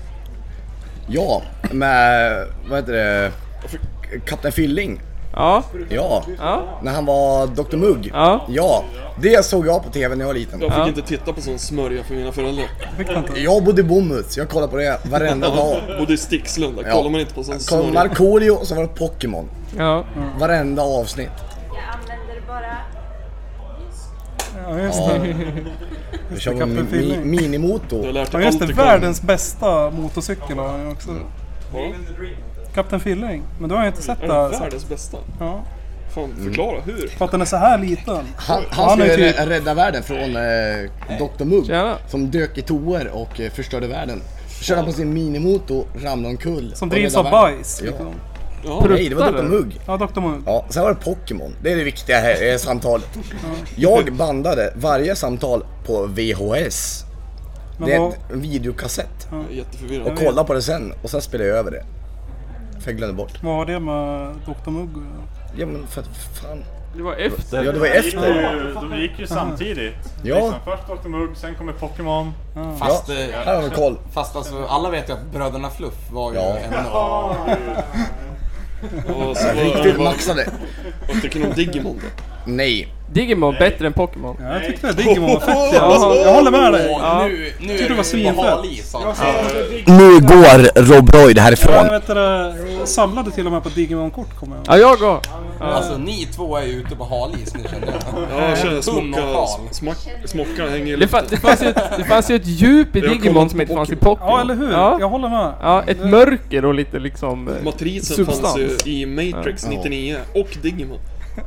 [SPEAKER 4] ja, med... Vad heter det? Kapten Filling.
[SPEAKER 2] Ja,
[SPEAKER 4] Ja,
[SPEAKER 2] ja,
[SPEAKER 4] när han var Dr Mugg.
[SPEAKER 2] ja.
[SPEAKER 4] Ja, det såg jag på TV när jag var liten.
[SPEAKER 5] jag fick
[SPEAKER 2] Ja.
[SPEAKER 5] inte titta på sån smörja för mina föräldrar.
[SPEAKER 4] Jag bodde i Bomhus, jag kollade på det
[SPEAKER 3] <laughs>
[SPEAKER 4] varenda dag.
[SPEAKER 5] Bodde i Stixlunda.
[SPEAKER 4] Ja.
[SPEAKER 5] Kollar man inte på sån
[SPEAKER 4] Kollade
[SPEAKER 5] smörja.
[SPEAKER 4] Markoolio och så var det Pokémon.
[SPEAKER 2] ja.
[SPEAKER 4] Varenda avsnitt.
[SPEAKER 10] Jag använder bara
[SPEAKER 3] Ja, just
[SPEAKER 4] Ja.
[SPEAKER 3] det.
[SPEAKER 4] Jag körde
[SPEAKER 3] Kapten
[SPEAKER 4] min, mi,
[SPEAKER 3] Filling.
[SPEAKER 5] Du har
[SPEAKER 4] minimotor.
[SPEAKER 5] lärt
[SPEAKER 3] Ja,
[SPEAKER 5] dig
[SPEAKER 3] just det.
[SPEAKER 5] Anticon.
[SPEAKER 3] Världens bästa motorcykel har han ju också.
[SPEAKER 5] Ja.
[SPEAKER 3] Kapten Filling. Men du har ju inte sett
[SPEAKER 5] Är
[SPEAKER 3] det
[SPEAKER 5] det
[SPEAKER 3] här. så-
[SPEAKER 5] världens bästa?
[SPEAKER 3] Ja.
[SPEAKER 5] Fan, förklara hur?
[SPEAKER 3] För att den är så här liten.
[SPEAKER 4] Han, han
[SPEAKER 3] Han är
[SPEAKER 4] skulle
[SPEAKER 3] typ-
[SPEAKER 4] rä- rädda världen från eh, Dr Mugg.
[SPEAKER 2] Tjena.
[SPEAKER 4] Som dök i toer och eh, förstörde världen. Körde på sin minimotor, ramlade omkull.
[SPEAKER 3] Som
[SPEAKER 4] och
[SPEAKER 3] drivs av
[SPEAKER 4] räddade världen.
[SPEAKER 3] bajs.
[SPEAKER 4] Ja.
[SPEAKER 3] Liksom.
[SPEAKER 5] Ja,
[SPEAKER 4] Nej, det var Dr
[SPEAKER 2] Pruttare.
[SPEAKER 4] Mugg.
[SPEAKER 3] Ja, Dr. Moon.
[SPEAKER 4] Ja, sen var det Pokémon. Det är det viktiga här i samtalet. Jag bandade varje samtal på VHS.
[SPEAKER 3] Men
[SPEAKER 4] Det är
[SPEAKER 3] vad-
[SPEAKER 4] ett- en videokassett.
[SPEAKER 5] jag är
[SPEAKER 4] Och
[SPEAKER 5] jätteförvirrad.
[SPEAKER 4] kolla på det sen och sen spelar jag över det. För jag glömde bort.
[SPEAKER 3] Vad har det med Dr. Mugg att göra?
[SPEAKER 4] Ja men för fan.
[SPEAKER 2] Det var efter.
[SPEAKER 4] Ja det var
[SPEAKER 7] De gick
[SPEAKER 4] efter.
[SPEAKER 7] ju, de gick ju samtidigt.
[SPEAKER 4] Ja.
[SPEAKER 7] Liksom, först Dr Mugg, sen kommer Pokémon.
[SPEAKER 9] Fast,
[SPEAKER 4] Ja,
[SPEAKER 9] eh,
[SPEAKER 4] här har vi koll.
[SPEAKER 9] fast alltså, alla vet ju att bröderna Fluff var ju
[SPEAKER 4] Ja.
[SPEAKER 9] en av...
[SPEAKER 5] Och så
[SPEAKER 4] Riktigt
[SPEAKER 5] var
[SPEAKER 4] maxade.
[SPEAKER 5] Vad tycker ni om Digimon då?
[SPEAKER 4] Nej.
[SPEAKER 2] Digimon bättre än Pokémon.
[SPEAKER 3] Ja, jag tyckte Digimon var
[SPEAKER 5] <laughs>
[SPEAKER 3] fett.
[SPEAKER 2] Jaha.
[SPEAKER 3] Jag håller med dig.
[SPEAKER 9] Åh, nu, nu är
[SPEAKER 3] det var
[SPEAKER 9] du på
[SPEAKER 3] svinfett.
[SPEAKER 9] hal is alltså.
[SPEAKER 4] Nu går Rob Royd
[SPEAKER 3] Jag
[SPEAKER 4] härifrån.
[SPEAKER 3] vet det, samlade till och med på Digimon-kort kommer jag ihåg.
[SPEAKER 2] Ja, jag går.
[SPEAKER 9] Alltså ni två är ju ute på hal is nu känner jag.
[SPEAKER 5] Ja, jag känner
[SPEAKER 9] Tunn och hal.
[SPEAKER 5] smocka, smack, smocka hänger i
[SPEAKER 2] Det, fa-
[SPEAKER 5] luften.
[SPEAKER 2] det, fanns ju ett, det fanns ju ett djup i
[SPEAKER 5] Jag
[SPEAKER 2] Digimon
[SPEAKER 5] kollar
[SPEAKER 2] som inte
[SPEAKER 5] på
[SPEAKER 2] fanns i
[SPEAKER 5] Pokémon.
[SPEAKER 2] Pokémon.
[SPEAKER 3] Ja, eller hur? Jag
[SPEAKER 2] Ja,
[SPEAKER 3] håller med.
[SPEAKER 2] ja ett mörker och lite liksom... eh,
[SPEAKER 5] Matrisen
[SPEAKER 2] Substans.
[SPEAKER 5] fanns ju i Matrix
[SPEAKER 4] Ja.
[SPEAKER 5] 99 och Digimon.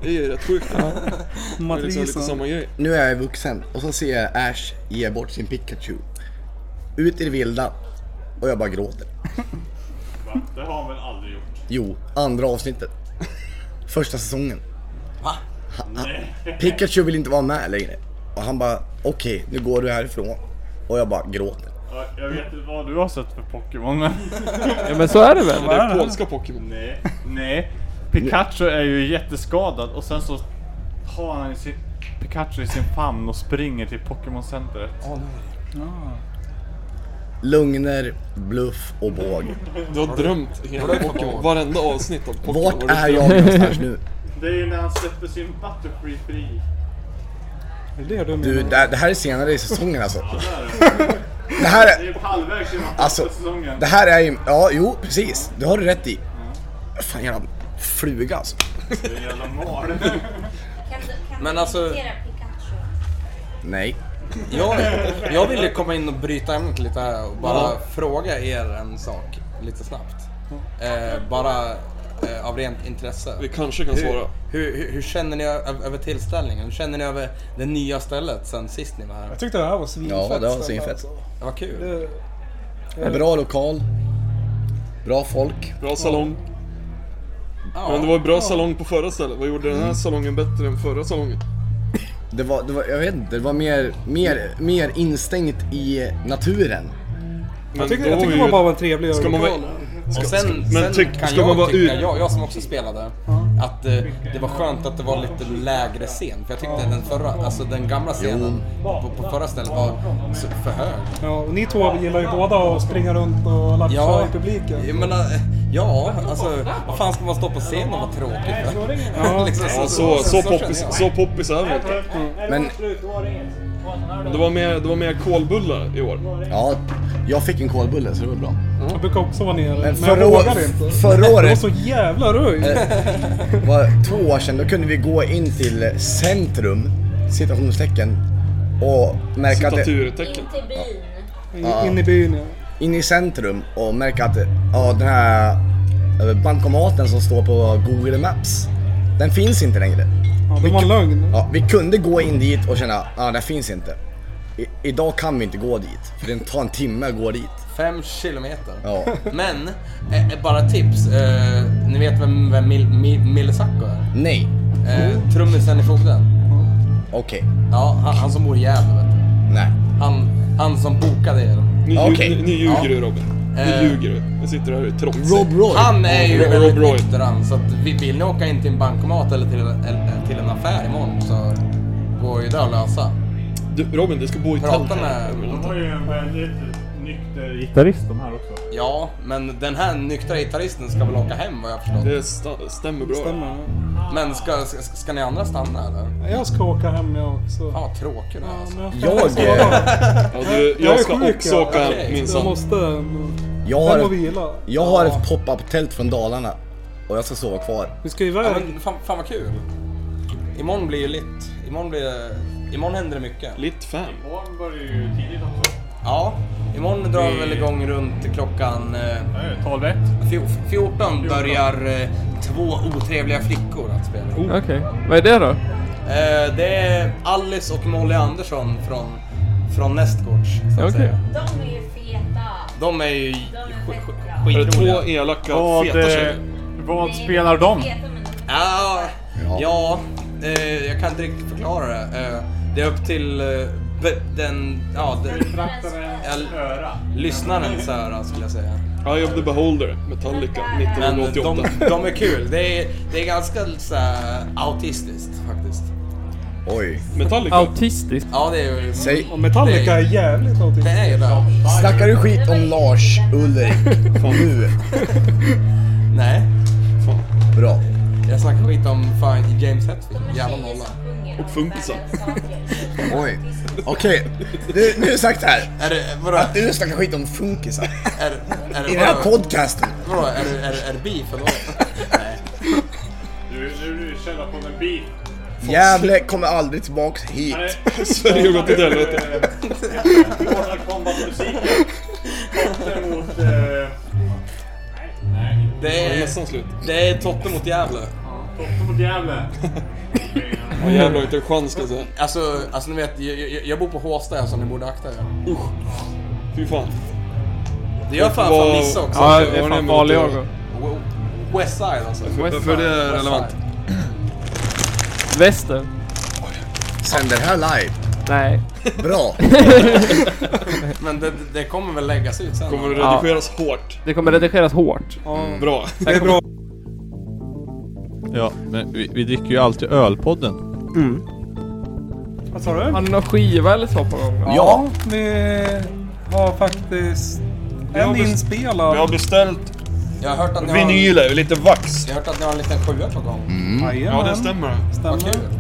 [SPEAKER 5] Det är ju rätt sjukt. Det är liksom lite
[SPEAKER 3] Matrisen.
[SPEAKER 5] samma grej.
[SPEAKER 4] Nu är jag vuxen och så ser jag Ash ge bort sin Pikachu. Ut i det vilda. Och jag bara gråter.
[SPEAKER 7] Det har han väl aldrig gjort?
[SPEAKER 4] Jo, andra avsnittet. Första säsongen. Va? Pikachu vill inte vara med längre. Och han bara okej nu går du härifrån. Och jag bara gråter.
[SPEAKER 7] Ja, Jag vet inte vad du har sett för Pokémon men...
[SPEAKER 2] Ja, men så är det väl?
[SPEAKER 5] Det är polska Pokémon.
[SPEAKER 7] Nej, nej. Pikachu är ju jätteskadad och sen så har han sin Pikachu i sin famn och springer till Pokémon-centret.
[SPEAKER 4] Lugner, bluff och båg.
[SPEAKER 5] Du har drömt hela Pokémon. Varenda avsnitt av Pokémon.
[SPEAKER 4] Vart
[SPEAKER 5] har du
[SPEAKER 4] är
[SPEAKER 5] drömt.
[SPEAKER 4] jag någonstans nu?
[SPEAKER 7] Det är ju när han släpper sin Butterfree fri.
[SPEAKER 3] Det är det du
[SPEAKER 4] Du,
[SPEAKER 3] menar.
[SPEAKER 4] det, det här är senare i säsongen alltså. Det här
[SPEAKER 7] Det
[SPEAKER 4] är...
[SPEAKER 7] är halvvägs genom
[SPEAKER 4] Alltså,
[SPEAKER 7] säsongen.
[SPEAKER 4] det här är ju... Ja, jo, precis. Det har du rätt i. Fan, jävla fluga alltså.
[SPEAKER 10] Kan du, kan
[SPEAKER 9] Men
[SPEAKER 10] du
[SPEAKER 9] alltså-
[SPEAKER 10] imitera Pikachu?
[SPEAKER 4] Nej.
[SPEAKER 9] Jag, jag ville komma in och bryta ämnet lite här och bara fråga er en sak lite snabbt. Eh, bara eh, av rent intresse.
[SPEAKER 5] Vi kanske kan
[SPEAKER 9] Hur,
[SPEAKER 5] svara.
[SPEAKER 9] hur, hur, hur känner ni ö- över tillställningen? Hur känner ni över det nya stället sen sist ni var här?
[SPEAKER 3] Jag tyckte det här var svinfett.
[SPEAKER 4] Ja, det var
[SPEAKER 3] ställe,
[SPEAKER 4] svinfett.
[SPEAKER 9] Vad kul.
[SPEAKER 3] Det-
[SPEAKER 4] Bra lokal. Bra folk.
[SPEAKER 5] Bra salong. Men det
[SPEAKER 9] Ja, Mm.
[SPEAKER 5] var en bra salong på förra stället. Vad gjorde den här salongen bättre än förra salongen?
[SPEAKER 4] Det var, det var jag vet inte, det var mer, mer, mer instängt i naturen.
[SPEAKER 5] Men
[SPEAKER 3] Jag tyckte,
[SPEAKER 5] då
[SPEAKER 3] jag tyckte
[SPEAKER 5] var
[SPEAKER 3] det var
[SPEAKER 5] ju-
[SPEAKER 3] bara var en trevlig
[SPEAKER 5] Ska man
[SPEAKER 3] lokal.
[SPEAKER 5] vara...
[SPEAKER 9] och sen, sen
[SPEAKER 5] men tyck-
[SPEAKER 9] kan
[SPEAKER 5] ska man
[SPEAKER 9] jag
[SPEAKER 5] vara
[SPEAKER 9] tycka,
[SPEAKER 5] ur-
[SPEAKER 9] jag, jag som också spelade, att eh, det var skönt att det var lite lägre scen. För jag tyckte den förra, alltså den gamla scenen på, på förra stället var så för hög.
[SPEAKER 3] Ja, och ni två gillar ju båda att springa runt och lappa i publiken.
[SPEAKER 9] Jag menar, Ja, alltså vad fan ska man stå på scen och vara tråkig för?
[SPEAKER 5] Ja,
[SPEAKER 9] Liksom,
[SPEAKER 5] så, så,
[SPEAKER 9] känner
[SPEAKER 5] poppis,
[SPEAKER 9] jag.
[SPEAKER 5] så poppis är vi inte.
[SPEAKER 4] Men
[SPEAKER 5] Det var mer, det var mer kolbullar i år.
[SPEAKER 4] ja, jag fick en kolbulle så det var bra.
[SPEAKER 3] Jag brukar också vara nere, men,
[SPEAKER 4] Men
[SPEAKER 3] jag
[SPEAKER 4] förra, år,
[SPEAKER 3] vågade inte. <laughs>
[SPEAKER 4] förra
[SPEAKER 3] Det var
[SPEAKER 4] året,
[SPEAKER 3] så jävla röj.
[SPEAKER 4] eh, var två år sedan, då kunde vi gå in till centrum, citationstecken, och märka att det,
[SPEAKER 5] Citaturtecken.
[SPEAKER 10] Inte bin.
[SPEAKER 3] In, in i byn ja.
[SPEAKER 4] in i centrum och märka att ja, den här eh, bankomaten som står på Google Maps, den finns inte längre.
[SPEAKER 3] ja det var en lögn.
[SPEAKER 4] Ja, vi kunde gå in dit och känna att ah, den finns inte. I, idag kan vi inte gå dit, för det tar en timme att gå dit.
[SPEAKER 9] Fem kilometer.
[SPEAKER 4] Ja.
[SPEAKER 9] Men, eh, eh, bara tips. Eh, ni vet vem, vem Mil, Mil, Mille Sacco är?
[SPEAKER 4] Nej,
[SPEAKER 9] Eh, trummisen i Fogden.
[SPEAKER 4] okej.
[SPEAKER 9] Ja, han, han som bor i Gävle vet du.
[SPEAKER 4] Nej.
[SPEAKER 9] Han, han som bokade er.
[SPEAKER 5] Nu, ljug-
[SPEAKER 4] Okej.
[SPEAKER 5] nu, nu ljuger du Robin. Nu
[SPEAKER 9] Eh.
[SPEAKER 5] ljuger du. Nu sitter du här och är trotsig.
[SPEAKER 4] Rob Roy.
[SPEAKER 9] Han är ju
[SPEAKER 5] Rob-
[SPEAKER 9] väldigt
[SPEAKER 5] Rob Roy.
[SPEAKER 9] nykter han, så att vi- vill ni åka in till en bankomat eller till, eller till en affär imorgon så går ju det att lösa.
[SPEAKER 5] Du, Robin, du ska bo i
[SPEAKER 9] Prata
[SPEAKER 5] tält. här.
[SPEAKER 9] med-
[SPEAKER 7] De har ju en väldigt nykter gitarrist de här också.
[SPEAKER 9] Ja, men den här nyktra gitarristen ska väl åka hem vad jag förstår.
[SPEAKER 5] Det sta- stämmer bra.
[SPEAKER 3] Stämmer.
[SPEAKER 9] Men ska, ska, ska ni andra stanna eller?
[SPEAKER 3] Jag ska åka hem jag också.
[SPEAKER 9] Fan vad tråkig du är alltså.
[SPEAKER 3] men
[SPEAKER 4] Jag,
[SPEAKER 3] jag,
[SPEAKER 4] eh,
[SPEAKER 3] jag,
[SPEAKER 5] Ja, du,
[SPEAKER 3] Jag
[SPEAKER 5] jag
[SPEAKER 3] är
[SPEAKER 5] ska
[SPEAKER 3] sjuk,
[SPEAKER 5] också
[SPEAKER 3] ja.
[SPEAKER 5] åka
[SPEAKER 9] Okej,
[SPEAKER 5] minsann.
[SPEAKER 3] jag måste ändå.
[SPEAKER 4] Jag har
[SPEAKER 3] Hem och
[SPEAKER 4] ett,
[SPEAKER 3] vila.
[SPEAKER 4] jag har ett pop-up tält från Dalarna och jag ska sova kvar.
[SPEAKER 3] Vi ska
[SPEAKER 9] Ja,
[SPEAKER 3] iväg.
[SPEAKER 9] men fan, fan vad kul. Imorgon blir ju litt. Imorgon blir det... Imorgon händer det mycket.
[SPEAKER 5] Litt fem.
[SPEAKER 7] Morgon börjar ju tidigt också.
[SPEAKER 9] Ja. Imorgon drar vi väl igång runt klockan... Eh,
[SPEAKER 7] Nej, 12 1.
[SPEAKER 9] fjo- 14 börjar eh, två otrevliga flickor att spela.
[SPEAKER 2] Okej. Vad är det då?
[SPEAKER 9] Eh, det är Alice och Molly Andersson från, från Nästgårds. så att
[SPEAKER 2] Okej.
[SPEAKER 9] säga.
[SPEAKER 10] De är ju feta.
[SPEAKER 9] De är ju
[SPEAKER 10] De är
[SPEAKER 9] sk-
[SPEAKER 10] feta.
[SPEAKER 9] sk-
[SPEAKER 5] Är det två
[SPEAKER 9] skitroliga.
[SPEAKER 5] elaka,
[SPEAKER 7] Vad,
[SPEAKER 5] feta
[SPEAKER 7] eh,
[SPEAKER 5] tjejer?
[SPEAKER 7] vad
[SPEAKER 10] Nej,
[SPEAKER 7] spelar
[SPEAKER 10] de?
[SPEAKER 7] de?
[SPEAKER 10] är feta, men de är-
[SPEAKER 9] Ja, ja eh, jag kan inte riktigt förklara det. Eh, det är upp till eh, be- den, ja, den, ja, lyssnarens öra skulle jag säga.
[SPEAKER 5] Eye of the Beholder, Metallica,
[SPEAKER 9] Men de,
[SPEAKER 5] 1988.
[SPEAKER 9] de är kul. Det är, det är ganska så här, autistiskt faktiskt.
[SPEAKER 4] Oj.
[SPEAKER 5] Metallica?
[SPEAKER 2] Autistiskt?
[SPEAKER 9] Ja, det är ju...
[SPEAKER 4] Säg,
[SPEAKER 3] Och Metallica är jävligt typ. någonting.
[SPEAKER 9] Det är ju det.
[SPEAKER 4] snackar du skit om Lars
[SPEAKER 9] <laughs>
[SPEAKER 4] Ulrik nu?
[SPEAKER 9] Nej,
[SPEAKER 4] Bra.
[SPEAKER 9] jag snackar skit om fan James Hetfield.
[SPEAKER 10] de är
[SPEAKER 9] Jävla
[SPEAKER 10] tjejer
[SPEAKER 9] nolla.
[SPEAKER 10] som sjunger.
[SPEAKER 5] Och funkisar.
[SPEAKER 4] Oj. Okej, du, nu är det sagt här.
[SPEAKER 9] Är det, vadå?
[SPEAKER 4] Att du snackar skit om funkisar
[SPEAKER 9] Är, det- är,
[SPEAKER 4] i
[SPEAKER 9] det-
[SPEAKER 4] den här
[SPEAKER 9] vadå?
[SPEAKER 4] podcasten.
[SPEAKER 9] Vadå, är, det- är, det- är det beef eller vad? Nej.
[SPEAKER 7] Nu är du källa på en beat.
[SPEAKER 4] Gävle kommer aldrig tillbaks hit.
[SPEAKER 5] <laughs> Sverige har gått åt helvete.
[SPEAKER 7] Mortal Kombat-musiken. Botten mot... eh, Nej.
[SPEAKER 9] Det
[SPEAKER 5] Det är
[SPEAKER 9] är,
[SPEAKER 5] nästan slut.
[SPEAKER 9] det är Totte mot Gävle.
[SPEAKER 7] Botten mot Gävle.
[SPEAKER 5] Åh jävlar, inte en chans ska jag säga.
[SPEAKER 9] Alltså, alltså ni vet, jag, jag, jag bor på Håsta så ni borde akta er.
[SPEAKER 5] Usch. Fy fan.
[SPEAKER 9] Det gör fan fan
[SPEAKER 5] Wow.
[SPEAKER 9] Nisse också.
[SPEAKER 2] Ja,
[SPEAKER 5] det
[SPEAKER 2] det
[SPEAKER 5] var
[SPEAKER 2] är fan
[SPEAKER 5] det
[SPEAKER 2] farlig
[SPEAKER 5] mot-
[SPEAKER 2] jag.
[SPEAKER 9] Wow. Westside alltså.
[SPEAKER 5] Varför det är relevant?
[SPEAKER 2] Väster?
[SPEAKER 4] Sänder här live.
[SPEAKER 2] Nej.
[SPEAKER 4] Bra.
[SPEAKER 9] Men det, det kommer väl läggas ut sen? Mm.
[SPEAKER 5] Kommer det redigeras hårt?
[SPEAKER 2] Det kommer redigeras hårt.
[SPEAKER 5] Bra.
[SPEAKER 3] Det är bra.
[SPEAKER 1] Ja, men vi, vi dricker ju alltid ölpodden.
[SPEAKER 3] Vad sa du?
[SPEAKER 2] Har ni någon skiva eller så på gång? då?
[SPEAKER 3] Ja, vi har faktiskt en
[SPEAKER 5] bes-
[SPEAKER 3] inspelad.
[SPEAKER 5] Vi har beställt
[SPEAKER 9] Jag har hört att ni har, en-
[SPEAKER 5] vinyler, lite vax.
[SPEAKER 9] jag har, hört att ni har en liten sjua på gång.
[SPEAKER 5] Ja, det
[SPEAKER 3] Jajamän.
[SPEAKER 5] stämmer.
[SPEAKER 9] Vad
[SPEAKER 3] Mm. stämmer.
[SPEAKER 9] kul.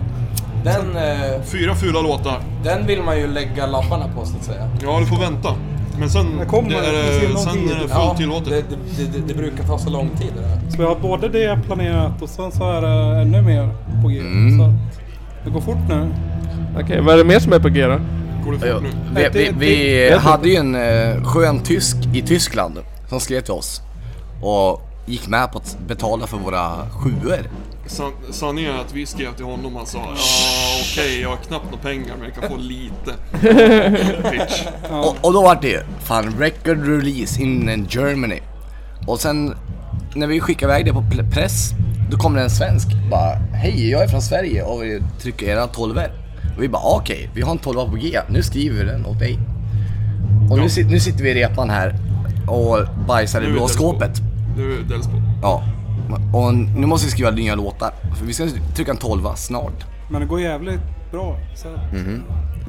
[SPEAKER 9] Den, eh,
[SPEAKER 5] Fyra fula låtar.
[SPEAKER 9] den vill man ju lägga labbarna på så att säga.
[SPEAKER 5] Ja, du får vänta. Men sen,
[SPEAKER 3] Det kommer,
[SPEAKER 5] det är,
[SPEAKER 3] det
[SPEAKER 5] det-
[SPEAKER 3] ser någon
[SPEAKER 5] sen
[SPEAKER 3] tid.
[SPEAKER 5] är det fullt
[SPEAKER 9] Ja,
[SPEAKER 5] tillåtet.
[SPEAKER 9] det, det, det, det, det brukar ta så lång tid det där.
[SPEAKER 3] Så vi har både det planerat och sen så är det ännu mer på G. Så att det går fort nu.
[SPEAKER 2] Okej, vad är det mer som är på G då?
[SPEAKER 5] Går Mm. det
[SPEAKER 4] Ja,
[SPEAKER 5] fort nu?
[SPEAKER 4] Vi, vi, vi hade ju en eh, skön tysk i Tyskland som skrev till oss och gick med på att betala för våra sjuor.
[SPEAKER 5] San, sanningen är att vi skrev till honom och han sa ja okej, jag har knappt några pengar men jag kan
[SPEAKER 4] <laughs>
[SPEAKER 5] få lite. Bitch.
[SPEAKER 4] Och, och då var det ju fan record release in Germany. Och sen när vi skickade iväg det på pl- press, då kom det en svensk bara Hej, jag är från Sverige och vill trycka era tolvor. Och vi bara okej, vi har en tolva på G, nu skriver vi den åt dig. Och nu, sit, nu sitter vi i repan här och bajsar i
[SPEAKER 5] Nu är det
[SPEAKER 4] blå skåpet.
[SPEAKER 5] Nu är Delsbo.
[SPEAKER 4] Ja. Och nu måste vi skriva nya låtar. För vi ska trycka en tolva snart.
[SPEAKER 3] Men det går jävligt bra. Så att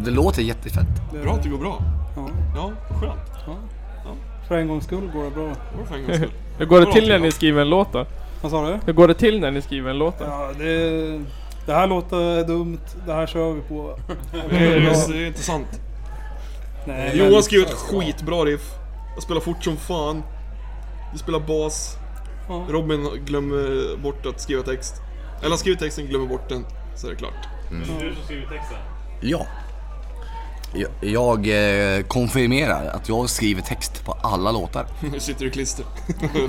[SPEAKER 4] Det låter jättefett.
[SPEAKER 3] det,
[SPEAKER 5] Bra att det går bra.
[SPEAKER 3] Ja,
[SPEAKER 5] Ja, skönt.
[SPEAKER 3] för en gångs skull går det bra.
[SPEAKER 5] Det var för en gångs skull.
[SPEAKER 2] <laughs> Hur går det till när ni skriver en låt då?
[SPEAKER 3] Vad sa du?
[SPEAKER 2] Hur går det till när ni skriver en låt då?
[SPEAKER 3] Ja, det, det här låter dumt. Det här kör vi <laughs> på.
[SPEAKER 5] Det är inte sant.
[SPEAKER 3] Nej, men-
[SPEAKER 5] Johan skriver ett skitbra riff. Jag spelar fort som fan. Du spelar bas.
[SPEAKER 3] Ja.
[SPEAKER 5] Robin glömmer bort att skriva text. Eller han skriver texten, glömmer bort den. Så är det klart. <laughs>
[SPEAKER 7] Det är du som skriver texten.
[SPEAKER 4] Ja. Jag, jag eh, konfirmerar att jag skriver text på alla låtar.
[SPEAKER 5] Nu sitter du i klister.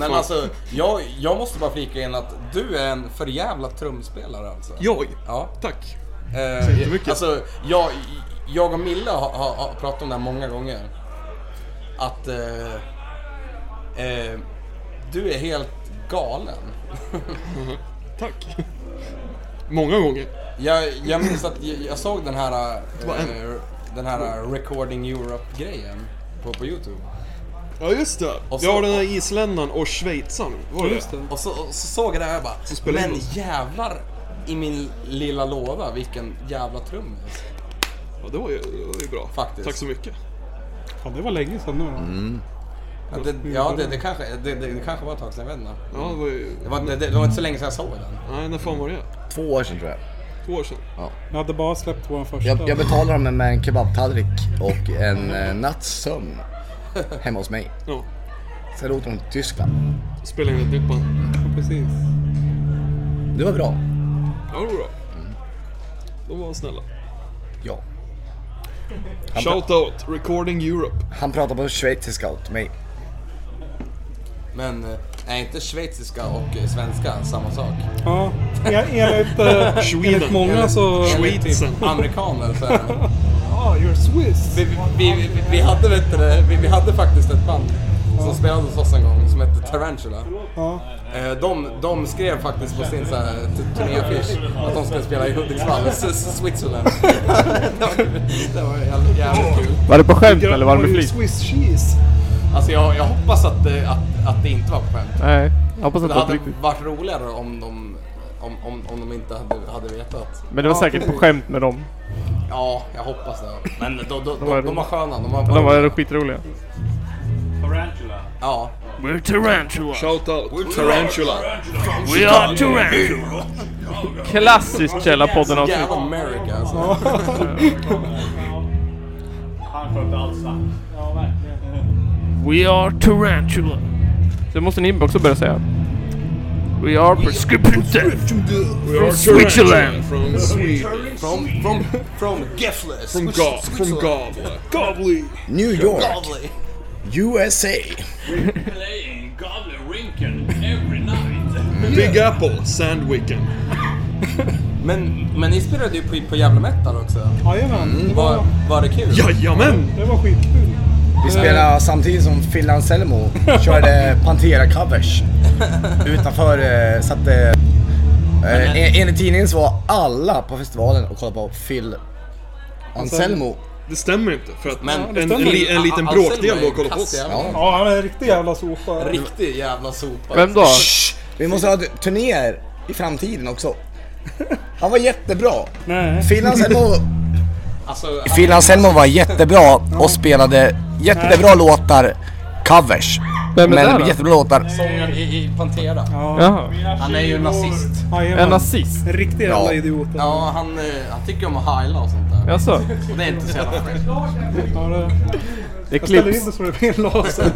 [SPEAKER 9] Men alltså, jag, jag måste bara flika in att du är en förjävla trumspelare alltså.
[SPEAKER 5] Jag?
[SPEAKER 9] Ja.
[SPEAKER 5] Tack.
[SPEAKER 9] Eh, alltså, jag, jag och Milla har, har, har pratat om det här många gånger. Att eh, eh, du är helt galen.
[SPEAKER 5] Tack. Många gånger.
[SPEAKER 9] <laughs> Jag, jag minns att jag, jag såg den här,
[SPEAKER 5] Vad är
[SPEAKER 9] eh, den här Recording Europe-grejen på, på Youtube.
[SPEAKER 5] Ja just det.
[SPEAKER 9] Och
[SPEAKER 5] Jag
[SPEAKER 9] så-
[SPEAKER 5] har den här isländaren och schweizaren. Var det det?
[SPEAKER 9] Och så, och så såg jag det här och bara,
[SPEAKER 5] spelar in
[SPEAKER 9] men
[SPEAKER 5] oss."
[SPEAKER 9] jävlar i min lilla låda vilken jävla trummis.
[SPEAKER 5] Ja det var ju, det var ju bra.
[SPEAKER 9] Faktiskt.
[SPEAKER 5] Tack så mycket.
[SPEAKER 3] Fan, det var länge sedan nu då.
[SPEAKER 9] Mm. Ja, det, ja, det, det, kanske, det, det, det kanske var ett tag sedan, jag vet inte.
[SPEAKER 5] Ja det var ju...
[SPEAKER 9] Mm. Det var, det, det var inte så länge sedan jag såg den.
[SPEAKER 5] Nej när fan var det?
[SPEAKER 4] Två år sedan tror jag.
[SPEAKER 5] Två år sedan?
[SPEAKER 3] Jag hade bara släppt vår första.
[SPEAKER 4] Jag, jag betalar dem med en kebabtallrik och en eh, natts sömn hemma hos mig.
[SPEAKER 5] Ja.
[SPEAKER 4] Sen åt de till Tyskland.
[SPEAKER 5] Spelade in ett nytt band.
[SPEAKER 3] Precis.
[SPEAKER 4] Det var bra.
[SPEAKER 5] Ja det var bra.
[SPEAKER 9] Mm.
[SPEAKER 5] De var snälla.
[SPEAKER 4] Ja.
[SPEAKER 5] Shout out, Recording Europe.
[SPEAKER 4] Han pratar på schweiziska åt mig.
[SPEAKER 9] Men eh, är inte schweiziska och eh, svenska samma sak?
[SPEAKER 3] Ja, en- enligt, <laughs> eh, enligt
[SPEAKER 5] Sweden.
[SPEAKER 3] många så...
[SPEAKER 9] Enligt typ
[SPEAKER 5] Schweizen.
[SPEAKER 9] amerikaner så är det.
[SPEAKER 3] Ja, you're Swiss.
[SPEAKER 9] <laughs> Vi, vi, vi, vi, vi, hade, vet du, det, vi, vi hade faktiskt ett band som spelade hos oss en gång som hette Tarantula.
[SPEAKER 3] Ja.
[SPEAKER 9] Eh, De, de skrev faktiskt på sin så här t- turnéaffisch att de skulle spela i Hudiksvall, S- S- Switzerland. <laughs> det var, det var jävligt, jävligt kul.
[SPEAKER 2] Var det på skämt eller var det med flit?
[SPEAKER 3] Swiss cheese.
[SPEAKER 9] Alltså jag, jag hoppas att, det- att, att det inte var på skämt.
[SPEAKER 2] Nej, jag hoppas
[SPEAKER 9] Det
[SPEAKER 2] att det var på
[SPEAKER 9] hade
[SPEAKER 2] riktigt.
[SPEAKER 9] varit roligare om de, om, om, om de inte hade, hade vetat.
[SPEAKER 2] Men det var säkert på skämt med dem.
[SPEAKER 9] Ja, jag hoppas det. Men de, de, de,
[SPEAKER 2] var
[SPEAKER 9] de, de var sköna. De var,
[SPEAKER 2] De var skitroliga.
[SPEAKER 7] Tarantula.
[SPEAKER 9] Ja.
[SPEAKER 2] We're Tarantula.
[SPEAKER 5] Shout out, Tarantula.
[SPEAKER 2] We are Tarantula. Klassiskt Källarpodden avsnitt.
[SPEAKER 9] Jävla America alltså.
[SPEAKER 7] Han skötte allt snack.
[SPEAKER 2] We are Tarantula. Det måste ni också börja säga. We are prescription death.
[SPEAKER 5] We are
[SPEAKER 2] Switzerland.
[SPEAKER 5] From Sweden.
[SPEAKER 9] From, from, from Gefles.
[SPEAKER 5] From Gav. From Gav. Gavly.
[SPEAKER 4] New York,
[SPEAKER 9] Lovely.
[SPEAKER 4] USA.
[SPEAKER 7] Playing Gavlerinken every night.
[SPEAKER 5] Big Apple. Sandwicken.
[SPEAKER 9] Men, men ni spelade ju på, på jävla metal också.
[SPEAKER 3] Jajamän, det var,
[SPEAKER 9] Var, var det kul?
[SPEAKER 5] Jajamän!
[SPEAKER 3] det var skitkul.
[SPEAKER 4] Vi spelade samtidigt som Phil Anselmo körde Pantera-covers. Utanför eh, satt... Eh, eh, en- enligt tidningen så var alla på festivalen och kollade på Phil Anselmo.
[SPEAKER 5] Det stämmer inte för att
[SPEAKER 9] Men-
[SPEAKER 5] en,
[SPEAKER 9] det
[SPEAKER 5] en,
[SPEAKER 9] stämmer.
[SPEAKER 5] li, en liten
[SPEAKER 9] Anselmo
[SPEAKER 5] bråkdel
[SPEAKER 9] är ju
[SPEAKER 5] då kollar på
[SPEAKER 9] kass
[SPEAKER 5] oss.
[SPEAKER 9] jävla-
[SPEAKER 4] Ja.
[SPEAKER 3] Ja, han är en riktig jävla sopa.
[SPEAKER 9] Riktig jävla sopa.
[SPEAKER 2] Vem då?
[SPEAKER 4] Vi måste ha turnéer i framtiden också. Han var jättebra.
[SPEAKER 3] Nej.
[SPEAKER 4] Phil Anselmo,
[SPEAKER 9] Alltså,
[SPEAKER 4] Phil Anselmo var jättebra och spelade jättebra låtar, covers.
[SPEAKER 2] Vem är det
[SPEAKER 4] Men
[SPEAKER 2] då?
[SPEAKER 4] jättebra låtar.
[SPEAKER 9] sångaren i, i Pantera.
[SPEAKER 2] Jaha.
[SPEAKER 9] Han är ju nazist.
[SPEAKER 3] Jajamän.
[SPEAKER 2] En nazist?
[SPEAKER 3] En riktig jävla
[SPEAKER 4] Ja.
[SPEAKER 3] idiot.
[SPEAKER 9] Ja, han, eh, han tycker om att heila och sånt där.
[SPEAKER 2] Jaså?
[SPEAKER 9] Och det är inte så <laughs> jävla fräscht.
[SPEAKER 3] Ja, det-
[SPEAKER 2] Det
[SPEAKER 3] Jag ställer in
[SPEAKER 2] klipps.
[SPEAKER 3] det så det blir en
[SPEAKER 2] <laughs>
[SPEAKER 3] laser.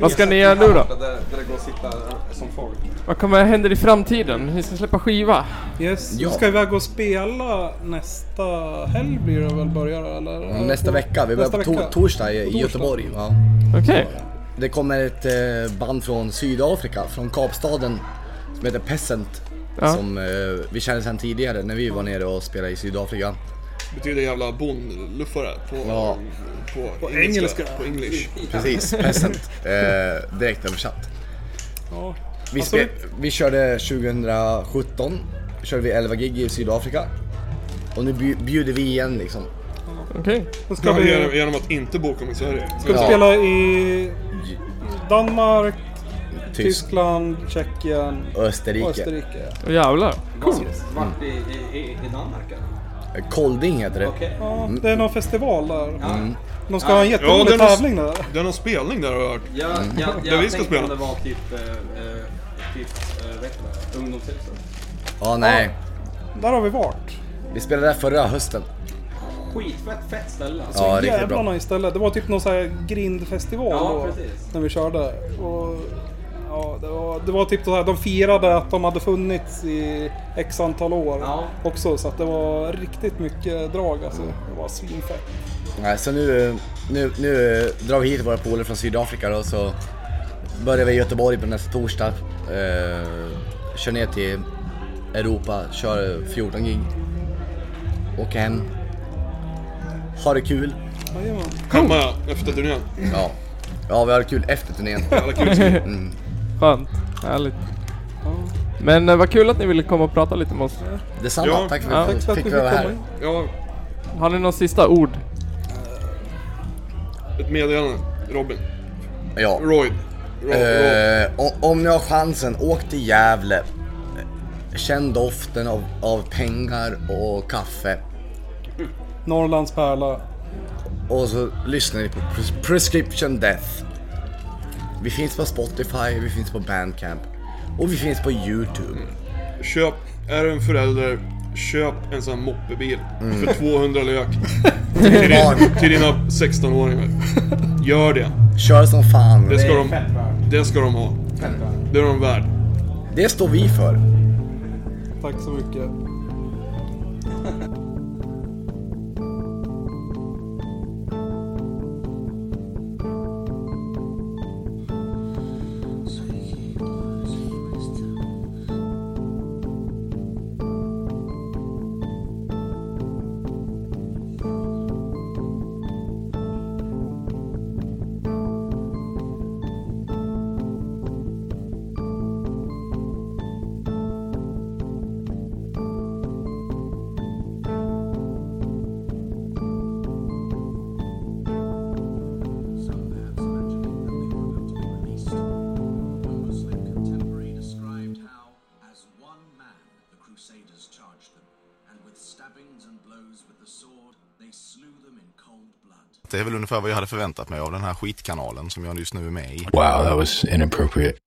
[SPEAKER 2] Vad ska ni göra nu då?
[SPEAKER 9] Där, där det går att sitta som folk.
[SPEAKER 2] Vad kommer händer i framtiden? Ni ska släppa skiva?
[SPEAKER 3] Yes,
[SPEAKER 4] Ja.
[SPEAKER 3] vi ska iväg och spela nästa helg blir det väl börjar eller?
[SPEAKER 4] Mm, Nästa vecka, vi börjar
[SPEAKER 3] Nästa
[SPEAKER 4] på to-
[SPEAKER 3] vecka.
[SPEAKER 4] torsdag i
[SPEAKER 3] torsdag.
[SPEAKER 4] Göteborg. Ja.
[SPEAKER 2] Okej.
[SPEAKER 4] Det kommer ett eh, band från Sydafrika, från Kapstaden, som heter Peasant.
[SPEAKER 2] Ja.
[SPEAKER 4] Som eh, vi kände sedan tidigare när vi var nere och spelade i Sydafrika.
[SPEAKER 5] Betyder jävla bondluffare på,
[SPEAKER 4] Ja.
[SPEAKER 5] på, på engelska. På english.
[SPEAKER 4] <laughs> Precis, Peasant. Eh, direkt översatt.
[SPEAKER 3] Ja.
[SPEAKER 4] Vi,
[SPEAKER 3] Alltså,
[SPEAKER 4] spe- vi körde 2017, körde vi 11 gig i Sydafrika. Och nu bju- bjuder vi igen liksom.
[SPEAKER 2] Okej.
[SPEAKER 3] Då ska
[SPEAKER 5] Ja,
[SPEAKER 3] vi
[SPEAKER 5] genom, genom att inte boka mig i Sverige.
[SPEAKER 3] ska vi
[SPEAKER 4] Ja.
[SPEAKER 3] spela i Danmark,
[SPEAKER 4] Tysk,
[SPEAKER 3] Tyskland, Tjeckien,
[SPEAKER 4] Österrike.
[SPEAKER 3] Österrike.
[SPEAKER 2] Åh Jävlar.
[SPEAKER 9] Vart i, i, i Danmark eller?
[SPEAKER 4] Kolding heter det.
[SPEAKER 3] Ja, det är någon festival där.
[SPEAKER 4] Mm.
[SPEAKER 3] De ska ha en jätterolig
[SPEAKER 5] det är någon-
[SPEAKER 3] tävling där.
[SPEAKER 5] Det är någon spelning där har jag hört.
[SPEAKER 9] Ja,
[SPEAKER 5] Mm.
[SPEAKER 9] ja,
[SPEAKER 5] där
[SPEAKER 9] jag
[SPEAKER 5] vi
[SPEAKER 9] tänkte
[SPEAKER 5] ska
[SPEAKER 9] om
[SPEAKER 5] spela.
[SPEAKER 9] det var typ, eh, eh, typ eh, vet du, ungdomshuset.
[SPEAKER 4] Ja, nej.
[SPEAKER 3] Där har vi varit.
[SPEAKER 4] Vi spelade där förra hösten.
[SPEAKER 9] Skitfett fett ställe.
[SPEAKER 4] Ja,
[SPEAKER 3] Så
[SPEAKER 4] riktigt
[SPEAKER 3] alltså. jävla
[SPEAKER 4] bra.
[SPEAKER 3] nice ställe. Det var typ någon sån här grindfestival
[SPEAKER 9] Ja,
[SPEAKER 3] då,
[SPEAKER 9] precis.
[SPEAKER 3] när vi körde. Och, ja, det, var, det var typ så här, de firade att de hade funnits i x antal år också. Så att det var riktigt mycket drag alltså. Det var svinfett.
[SPEAKER 4] Nej, så nu, nu, nu eh, drar vi hit våra polare från Sydafrika då, så börjar vi i Göteborg på nästa torsdag. Eh, kör ner till Europa, kör 14 gig. Åker hem. Har det kul.
[SPEAKER 3] Jajamän.
[SPEAKER 5] Hemma ja, efter turnén.
[SPEAKER 4] Ja. ja, vi har det kul efter turnén.
[SPEAKER 5] Jävla kul ska
[SPEAKER 4] Mm.
[SPEAKER 2] Skönt. Härligt. Men eh, vad kul att ni ville komma och prata lite med oss.
[SPEAKER 4] Detsamma. Ja. Tack för att vi fick vara här.
[SPEAKER 5] Ja,
[SPEAKER 2] Har ni några sista ord?
[SPEAKER 5] ett meddelande. Robin.
[SPEAKER 4] Ja.
[SPEAKER 5] Royd.
[SPEAKER 4] Eh, o- om ni har chansen, åk till Gävle. Känn doften av, av pengar och kaffe.
[SPEAKER 3] Norrlands pärla.
[SPEAKER 4] Och så lyssnar ni på Pres- Prescription Death. Vi finns på Spotify, vi finns på Bandcamp och vi finns på YouTube.
[SPEAKER 5] Köp, är du en förälder, köp en sån här moppebil.
[SPEAKER 4] Mm.
[SPEAKER 5] För 200
[SPEAKER 9] <laughs>
[SPEAKER 5] lök.
[SPEAKER 4] Till
[SPEAKER 5] till,
[SPEAKER 4] ditt barn.
[SPEAKER 5] din, till dina 16-åringar. Gör det.
[SPEAKER 4] Kör som fan.
[SPEAKER 5] Det ska de, det ska de ha. Det är de värd.
[SPEAKER 4] Det står vi för.
[SPEAKER 3] Tack så mycket.
[SPEAKER 11] Crusaders charged them, and with stabbings and blows with the sword, they slew them in cold blood.
[SPEAKER 12] Det är väl ungefär vad jag hade förväntat mig av den här skitkanalen som jag just nu är med i.
[SPEAKER 13] Wow, that was inappropriate.